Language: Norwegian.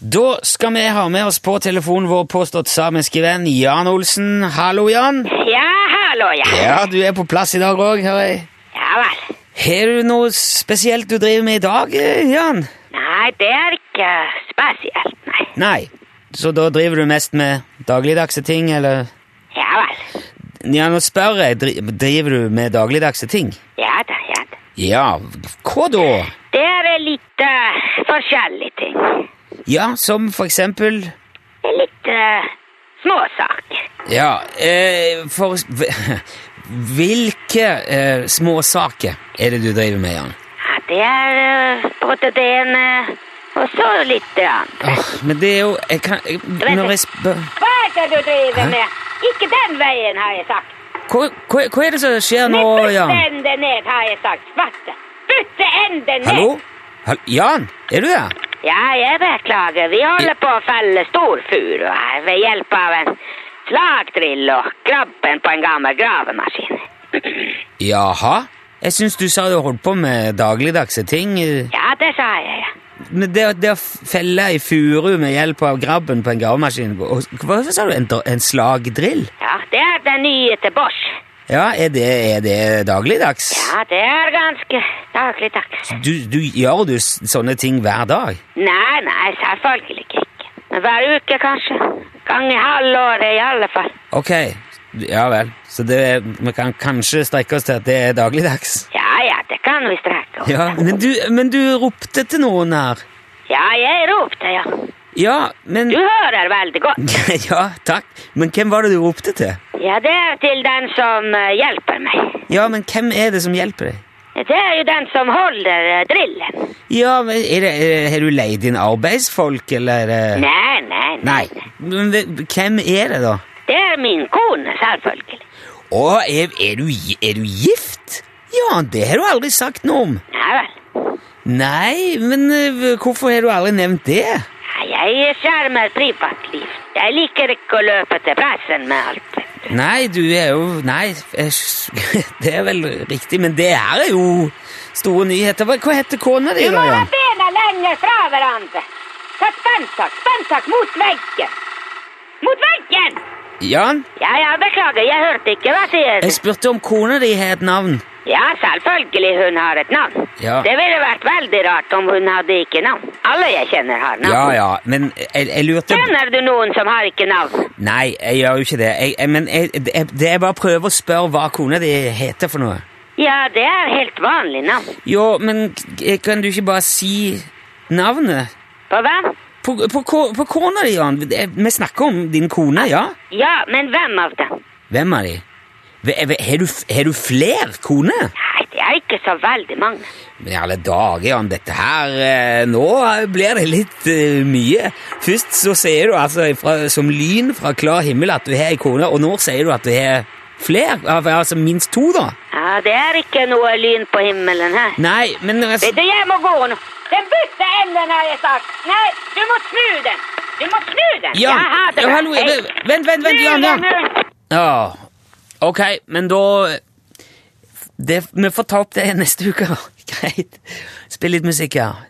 Da skal vi ha med oss på telefonen vår påstått samiske venn Jan Olsen. Hallo, Jan. Ja, hallo, ja. Ja, du er på plass i dag òg, hører jeg. Ja vel. Har du noe spesielt du driver med i dag, eh, Jan? Nei, det er ikke spesielt, nei. Nei. Så da driver du mest med dagligdagse ting, eller? Ja vel. Ja, nå spør jeg, dri- driver du med dagligdagse ting? Ja da, ja da. Ja, hva da? Det er litt eh, forskjellige ting. Ja, som for eksempel Litt eh, småsaker. Ja, eh, for Hvilke eh, småsaker er det du driver med, Jan? Ja, det er eh, både det ene eh, og så litt det andre. Åh, men det er jo jeg kan, jeg, Når jeg spør Hva er det du driver med? Ikke den veien, har jeg sagt. hva, hva, hva er det som skjer nå, Men Jan? bytte ende ned, har jeg sagt. Svarte. Bytte ende ned. Hallo? Hall Jan, er du der? Ja, jeg beklager. Vi holder på å felle stor furu her ved hjelp av en slagdrill og krabben på en gammel gravemaskin. Jaha? Jeg syns du sa du holdt på med dagligdagse ting. eh, Ja, det sa jeg, ja. Men det, å- det å felle ei furu med hjelp av grabben på en gravemaskin og- Hva sa du? En, dra- en slagdrill? Ja, det er den nye til Bosch. Ja, er det, er det dagligdags? Ja, det er ganske daglig takk. Du, du gjør du s- sånne ting hver dag? Nei, nei, selvfølgelig ikke. Men hver uke, kanskje. Gang i halvåret, i alle fall. Ok, ja vel. Så det, vi kan kanskje strekke oss til at det er dagligdags? Ja, ja, det kan vi strekke oss. Ja, men du, men du ropte til noen her. ja, jeg ropte, ja. Ja, men Du hører veldig godt. Ja, takk. Men hvem var det du ropte til? Ja, det er til den som eh, hjelper meg. Ja, men hvem er det som hjelper deg? Det er jo den som holder eh, drillen. Ja, men er det, er, Har du leid inn arbeidsfolk, eller? er det- Nei, nei, nei. Nei. Men det- hvem er det, da? Det er min kone, selvfølgelig. Å, er, er, du, gi- er du gift? Ja, det har du aldri sagt noe om. Nei vel. Nei, men eh, hvorfor har du aldri nevnt det? Ja, Jeg skjermer privatliv. Jeg liker ikke å løpe til pressen med alt. Nei, du er jo Nei, jeg s- det er vel riktig, men det her er jo store nyheter. Hva hva heter kona di, Du må da? ha Jan? bena lenger fra hverandre. Ta spenntak, spenntak mot veggen. Mot veggen! Jan, Ja, ja, beklager, jeg hørte ikke. Hva sier jeg du? spurte om kona di har et navn. Ja, selvfølgelig hun har et navn. Ja. Det ville vært veldig rart om hun hadde ikke navn. Alle jeg kjenner har navn. Ja, ja, men jeg, jeg lurte Kjenner du noen som har ikke navn? Nei, jeg gjør jo ikke det. Jeg, jeg, men jeg, det jeg- det er bare å prøve å spørre hva kona di heter for noe. Ja, det er helt vanlig navn. Jo, men k- kan du ikke bare si navnet? På hvem? På, på, ko- på kona di, Jan. Det- Vi snakker om din kone, ja? Ja, men hvem av dem? Hvem av de? Ve- ve- Har du, f- har du flere koner? Nei, det er ikke så veldig mange. Men i alle dager, Jan, dette her eh, Nå blir det litt eh, mye. Først så sier du altså fra, som lyn fra klar himmel at du har ei kone, og nå sier du at du har flere, al- altså minst to, da. Ja, det er ikke noe lyn på himmelen her. Nei, men altså, Vet du, jeg må gå nå. Den bytte enden har jeg sagt. Nei, du må snu den. Du må snu den. Jan, Jeg har det ja, bra. hallo, Hei. vent, vent, vent, Snu Jan, Jan. den rundt. Ja, ok, men da det, Vi får ta opp det neste uke. da. Greit. Spill litt musikk, ja.